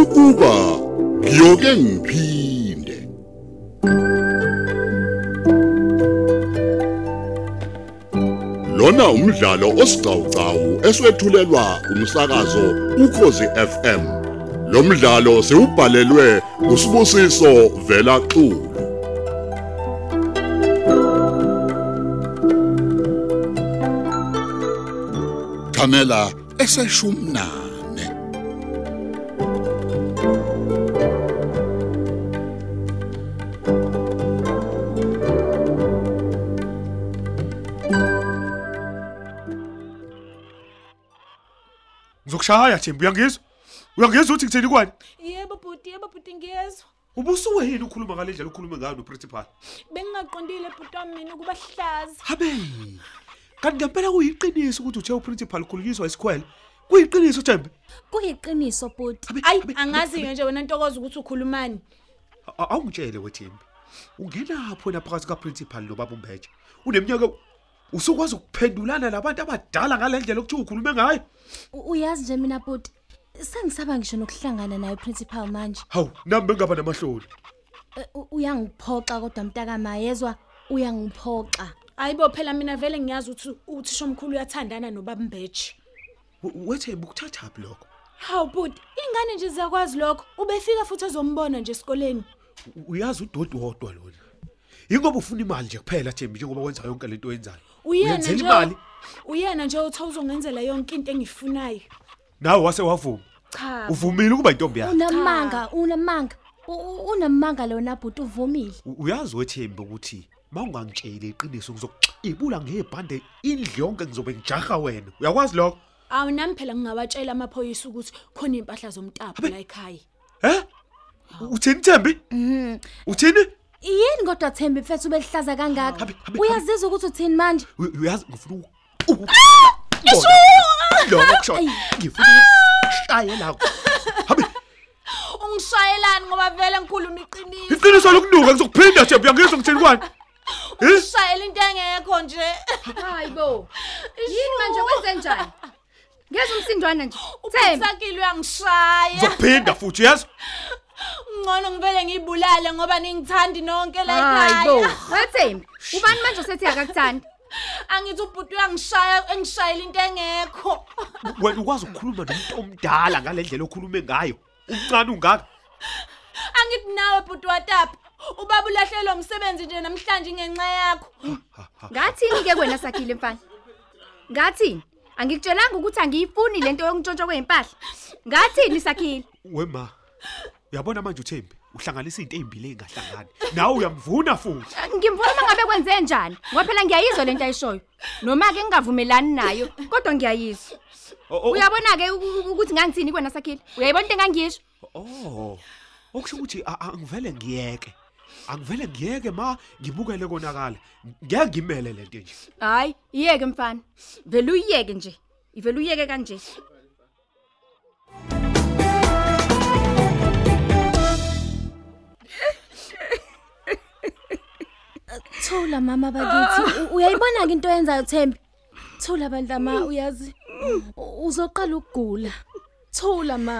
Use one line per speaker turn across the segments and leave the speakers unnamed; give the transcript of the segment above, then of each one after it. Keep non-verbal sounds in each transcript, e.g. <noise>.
ukuba ngiyoke ngiphinde lona umdlalo osiqhawqhawo eswethulelwa umsakazo ukhozi FM lo mdlalo siubhalelwe usibusiso vela xulu Kamela eseshumnane
ngizokushaya Thembi uyangizwa uyangizwa uthi ngitheni kwani
yebo bhuti yebo bhuti ngiyezwa
ubusuwe yini ukhuluma ngale ndlela ukhulume ngayo noprincipal
bengingaqondile bhuti wami mina ukuba hlaza
habe kanti ngempela kuyiqiniso ukuthi uthe uprincipal khulukiswa isikhwele kuyiqiniso Thembi
kuyiqiniso bhuti
Abe,
ayi
abe, abe,
angaziyo nje wena ntokoza ukuthi ukhulumani
A- a- awungitshele wethembi ungenapho wena phakathi kaprincipal nobaba umbetshe uneminyaka usukwazi ukuphendulana labantu abadala ngale ndlela okuthiwa ukhulume ngayo
U- uyazi nje mina bhuti sengisaba ngisho nokuhlangana naye principal manje
hawu nami bengingaba namahloni
Eh, u- uyangiphoxa kodwa mtakamayezwa uyangiphoxa
ayibo phela mina vele ngiyazi ukuthi uthisha omkhulu uyathandana nobabambeji
W- wethembi ukuthathaphi lokho
hawu bhuti ingane nje ziyakwazi lokho ubefika futhi ezombona nje esikoleni
U- uyazi udodwodwa lona yingoba ufuna imali nje kuphela thembi njengoba wenza yonke lento oyenzayo
uyena
Uyenzela
nje
imali
uyena nje othe uzongenzela yonke into engifunayo
nawe wase wavuma
cha
uvumile ukuba intombi yakho
unamanga unamanga U- u- unamanga lona bhuti uvumile
U- uyazi wethembi ukuthi mawungangitsheli iqiniso ngizokuxibula ngebhande indlu yonke ngizobe ngijaha wena uyakwazi lokho
awunami phela ngingawatshela amaphoyisa ukuthi khona impahla zomtapo la ekhaya
he uthini thembi
Mm-hmm.
uthini
yini kodwa thembi mfethu ubelihlaza kangaka
Habe, habe,
uyazizwa ukuthi uthini manje
U- uyazi ngifuna
Ah!
ukulokushona ngifuna ukushayela habe
ungishayelani ngoba vele nkulumo iqiniso
iqiniso lokunuka ngizokuphinda thembi uyangizwa ngithini kwani Eh?
ushayela into engekho nje
hayi bo yini manje kwenzenjani ngeza umsindwana nje thembi
uphathakile uyangishaya
ngizokuphinda futhi uyazi
ngcono ngivele ngiyibulale ngoba ningithandi nonke la
hayi bo
ekhaya
wethembi ubani manje osethi akakuthandi
angithi ubhuti uyangishaya engishayela into engekho <laughs>
wena ukwazi ukukhuluma nomuntu omdala ngale ndlela okhulume ngayo umncane ungaka
angithi nawe bhuti watapha ubaba ulahlekelwe umsebenzi nje namhlanje ngenxa yakho
ngathini ke kwena sakhile mfana ngathini angikutshelanga ukuthi angiyifuni lento yokuntshontshwa kweimpahla ngathini sakhile
wema uyabona manje uthembi uhlanganisa izinto ezimbili ezingahlangani nawe uyamvuna futhi
ngimvuma mangabe kwenze njani ngoba phela ngiyayizwa lento ayishoyo noma ke ngingavumelani nayo kodwa ngiyayizwa
O- o-
uyabona ke ukuthi ngangithini kwena sakhile uyayibona into engangisho
Oh. Okusho ukuthi a- a- angivele ngiyeke. Angivele ngiyeke ma ngibukele konakala. Ngeke ngimele lento nje.
hayi iyeke mfana vele uyiyeke nje ivele uyiyeke kanje
thula mama bakithi U- uyayibona ke into oyenzayo thembi thula bantama uyazi u- uzoqala ukugula thula ma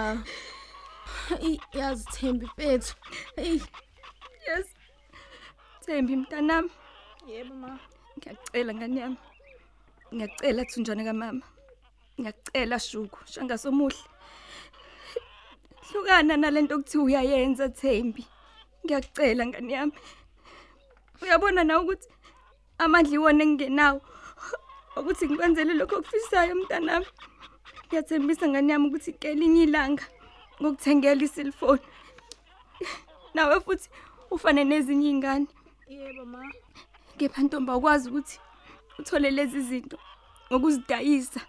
Eyi, yazi thembi mfethu eyi
yes thembi mntanami
yebo ma
ngiyakucela ngane yami ngiyakucela thunjana kamama ngiyakucela shuku shanga somuhle hlukana nalento okuthiwa uyayenza thembi ngiyakucela ngane yami uyabona na ukuthi amandla iwona engingenawo ukuthi ngikwenzele lokho okufisayo mntanami ngiyathembisa ngane yami ukuthi kelinye ilanga ngokuthengela isilfoni nawe futhi ufane nezinye iy'ngane
yebo ma
kepha ntombi akwazi ukuthi uthole lezi zinto ngokuzidayisa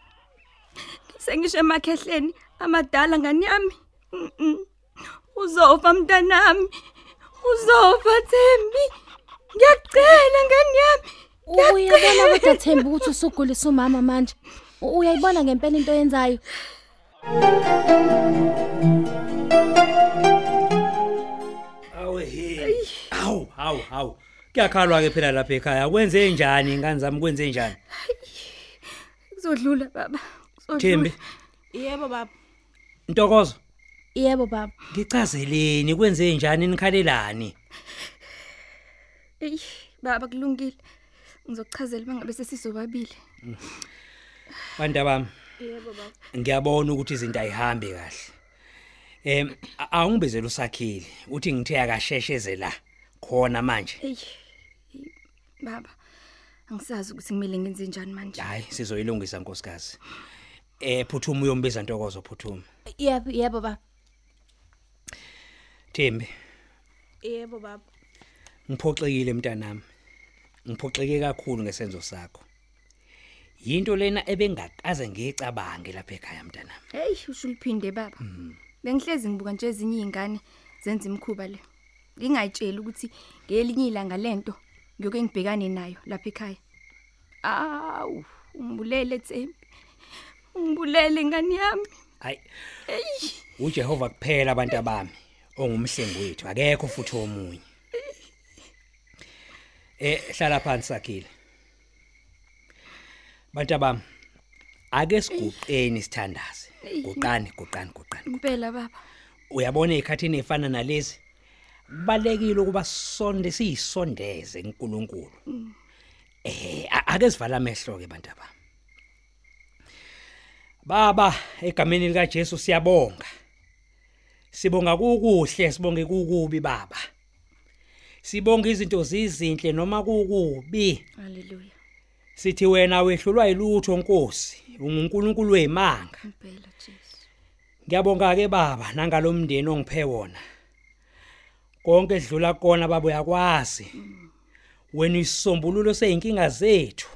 sengisho emakhehleni amadala ngani yami Mm-mm. uzofa mntanami uzofa thembi ngiyakucela ngani yami
uyabona kodwa thembi ukuthi usugulisa umama manje U- uyayibona ngempela into oyenzayo
Awu he. Awu, awu, awu. Kuyakhalwa ke phela lapha ekhaya. Kwenze njani ingane zami kwenze njani?
kuzodlula baba kuzodlula.
Thembi,
yebo baba
Ntokozo.
Yebo baba.
ngichazeleni kwenze njani nikhalelani
eyi baba kulungile ngizokuchazela uma ngabe sesizobabili
bantu bami ngiyabona ukuthi izinto ayihambi kahle em a- awungibizela usakhile uthi ngithe akashesheze la khona manje
eyi eyi, baba angisazi ukuthi kumele ngenze njani manje
hayi sizoyilungisa nkosikazi eh phuthuma uyombiza ntokozo phuthuma
Yebo yebo baba.
Thembi
Yebo baba.
ngiphoxekile mntanami ngiphoxeke kakhulu ngesenzo sakho yinto lena ebengakaze ngiyicabange lapha ekhaya mntanami
heyi usho uliphinde baba bengihlezi ngibuka nje ezinye iy'ngane zenza imikhuba le ngingayitsheli ukuthi ngelinye ilanga lento ngiyoke ngibhekane nayo lapha ekhaya awu ungibulele thembi ungibulele ngane yami
hayi uJehova kuphela abantu abami ongumhlengi wethu akekho futhi omunye eh hlala phansi sakhile bantu abami ake siguqeni sithandaze guqani guqani guqani
impela baba
uyabona ezikhathini efana nalezi kubalekile ukuba sonde siyisondeze kuNkulunkulu eh a- ake sivala amehlo ke bantu aba Baba egameni lika Jesu siyabonga Sibonga kukuhle sibonge kukubi baba Sibonga izinto zizinhle noma kukubi
haleluya
sithi wena wehlulwa yilutho Nkosi unguNkulunkulu weimanga
impela jesu
Ngiyabonga ke baba nangalomndeni ongiphe wona. Konke edlula kona baba uyakwazi. Wena isombululo seyinkinga zethu.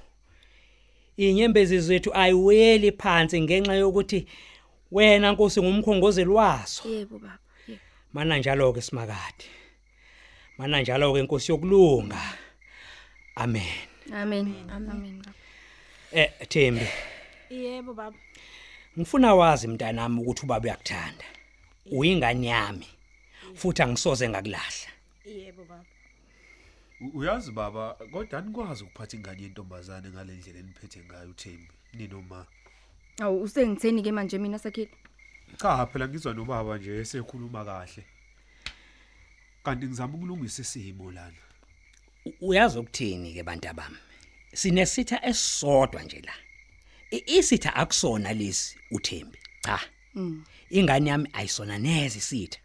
Inyembezi zethu ayiweli phansi ngenxa yokuthi wena Nkosi ngumkhongozeli waso.
yebo baba yebo
Mana njalo ke simakade. Mana njalo ke Nkosi yokulunga. Amen.
Amen. Amen. baba.
Eh Thembi,
Yebo baba.
ngifuna wazi mntanami ukuthi ubaba uyakuthanda. Uyingane yami. Futhi angisoze ngakulahla.
Yebo baba.
U- uyazi baba kodwa anikwazi ukuphatha ingane yentombazane ngale ndlela eniphethe ngayo uthembi ninoma
Awu usengitheni ke manje mina sakhile?
cha phela ngizwa nobaba nje esekhuluma kahle kanti ngizama ukulungisa isimo lana
U- uyazi ukuthini ke bantu bami sinesitha esisodwa nje la I- isitha akusona lesi uThembi cha
Mm.
ingane yami ayisona neze isitha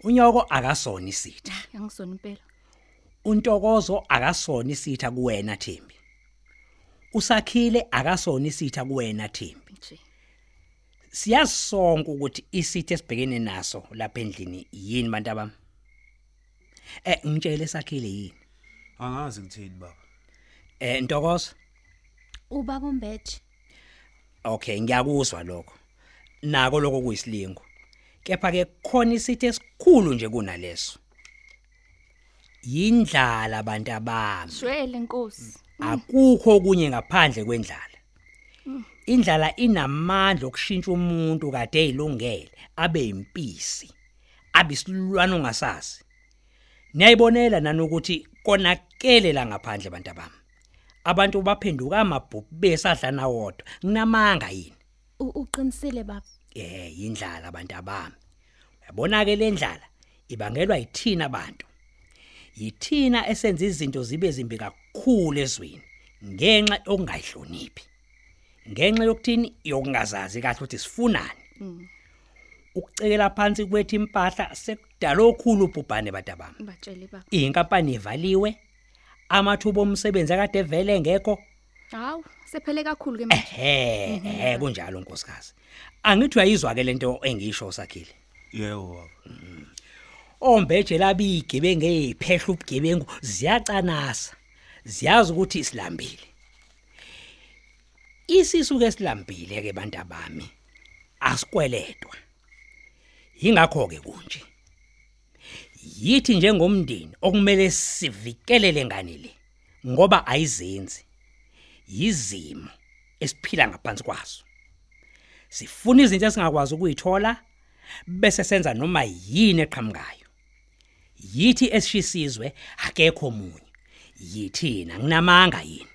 unyoko akasona isitha
Angisona impela.
untokozo akasona isitha kuwena Thembi usakhile akasona isitha kuwena Thembi
Nje.
siyazi sonke ukuthi isitha esibhekene naso lapha endlini yini bantu bami eh ngitshele sakhile yini
angazi ngithini baba
eh ntokozo
Ubaba umbethe.
Okay, ngiyakuzwa lokho. Nako lokho kuyisilingo. Kepha ke khona isithe esikhulu nje kunaleso. Yindlala abantu abami.
Shwele Nkosi.
Akukho okunye ngaphandle kwendlala. Indlala inamandla okushintsha umuntu kade ezilungele abe impisi. Abe isilwana ongasazi. Niyayibonela nanokuthi konakele la ngaphandle abantu abami. Abantu baphenduka amabhubhu besadla na wodwa. Nginamanga yini?
U- Uqinisile baba.
eh indlala abantu abami uyabonake le ndlala ibangelwa yithina abantu yithina esenza izinto zibe zimbi kakhulu ezweni ngenxa yokungayihloniphi ngenxa yokuthini yokungazazi kahle ukuthi sifunani ukucekela phansi kwethu impahla sekudala okhulu ubhubhane bantu abami
Batshele baba.
inkampani ivaliwe amathuba omsebenzi akade vele ngekho
Hawu, sephele kakhulu ke manje.
ehe ehe kunjalo nkosikazi angithi uyayizwa ke lento engisho sakhile
yebo baba
ombeje labigebengu eziphehla ubugebengu ziyacanasa ziyazi ukuthi silambile isisu ke silambile ke bantu abami asikweletwa ingakho ke kunje yithi njengomndeni okumele sivikelele ngane le ngoba ayizenzi yizimo esiphila ngaphansi kwazo sifuna izinto esingakwazi ukuyithola bese senza noma yini eqhamukayo yithi esishisizwe akekho omunye yithina nginamanga yini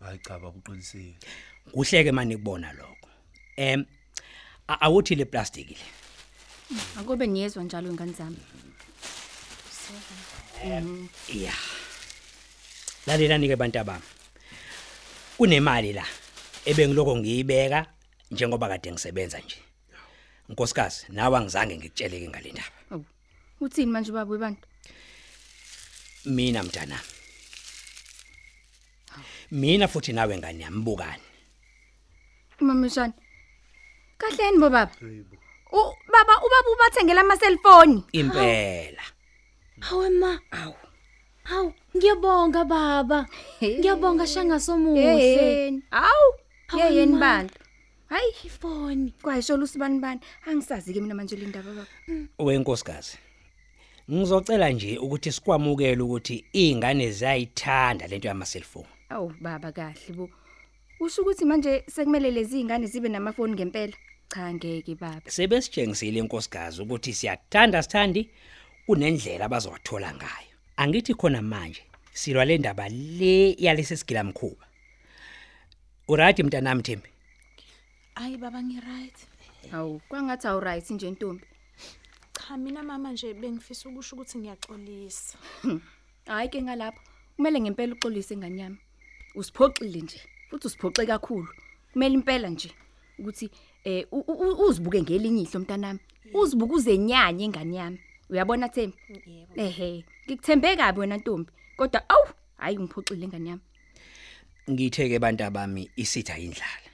hayi cha baba uqinisile
kuhleke manje kubona lokho em a- awuthi le plastic le
akube niyezwa njalo ngane zami
ya lalelani-ke bantu bami kunemali la ebengiloko ngiyibeka njengoba kade ngisebenza nje nkosikazi nawe angizange ngikutsheleke ngale ndaba
awu uthini manje ubaba webantu
mina mntana mina futhi nawe ngani yambukani
mamishana kahle yini bo baba U- baba ubaba ubathengela ama-cellphone
impela
Hawe ma. Awu. Hawu, ngiyabonga baba. Ngiyabonga shanga somuhle.
yeyeni hawu
Hawu,
yeyeni
ma.
bantu hayi
Ifoni.
kwayishola usibani bani angisazi-ke mina manje le ndaba baba
wenkosikazi ngizocela nje ukuthi sikwamukele ukuthi ingane ziyayithanda lento yama cellphone
awu baba kahle bo usho ukuthi manje sekumele lezi iy'ngane zibe namafoni ngempela cha ngeke baba
sebesitshengisile inkosikazi ukuthi siyakuthanda sithandi kunendlela abazowathola ngayo angithi khona manje silwa le ndaba le yalesi sigilamkhuba uradi mntanami Thembi
hayi baba ngi-right
awu kwangathi awuright nje ntombi
cha mina mama nje bengifisa ukusho ukuthi ngiyaxolisa
hhayi ke ngalapho kumele ngempela uxolise ngane yami usiphoxile nje futhi usiphoxe kakhulu kumele impela nje ukuthi um uzibuke ngelinye ihlo mntanami uzibuke uzenyanye engane yami uyabona thembi ehe ngikuthembe kabi wena ntombi kodwa awu hhayi ngiphoxile ngane yami
ngitheke bantu abami isitha indlala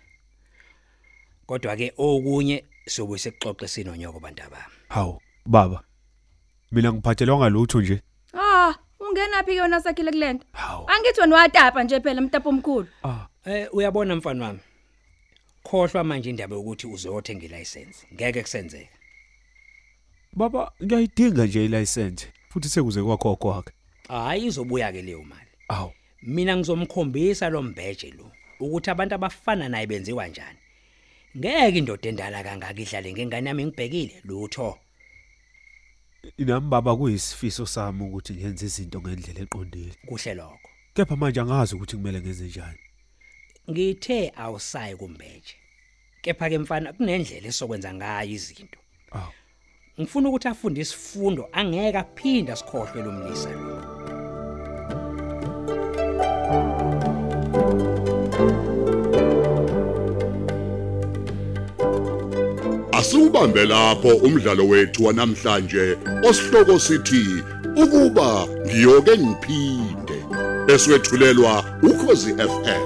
kodwa ke okunye sobe sekuxoxe sinonyoko bantu abami
Hawu baba. Mina ngiphathelwa ngalutho nje.
ah ungenaphi ke yona sakhile kule nto
Hawu.
angithi wena watapa nje phela mtapo omkhulu
Ah,
eh uyabona mfana wami khohlwa manje indaba yokuthi uzothenga ilicense ngeke kusenzeka
baba ngiyayidinga nje ilicense futhi sekuze kwakho kwakhe.
hayi izobuya ke leyo mali
Hawu.
mina ngizomkhombisa lo mbheje lo ukuthi abantu abafana naye benziwa njani ngeke indoda endala kangaka idlale ngengane yami ngibhekile lutho
Inami baba kuyisifiso sami ukuthi ngenze izinto ngendlela eqondile.
kuhle lokho
Kepha manje angazi ukuthi kumele ngenze njani.
ngithe awusayi kumbheje kepha ke mfana kunendlela esokwenza ngayo izinto
Aw.
ngifuna ukuthi afunde isifundo angeke aphinda sikhohlwe lo mlisa lo
Asubambe lapho umdlalo wethu wanamhlanje osihloko sithi ukuba ngiyoke ngiphinde eswetshulelwa ukhozi FM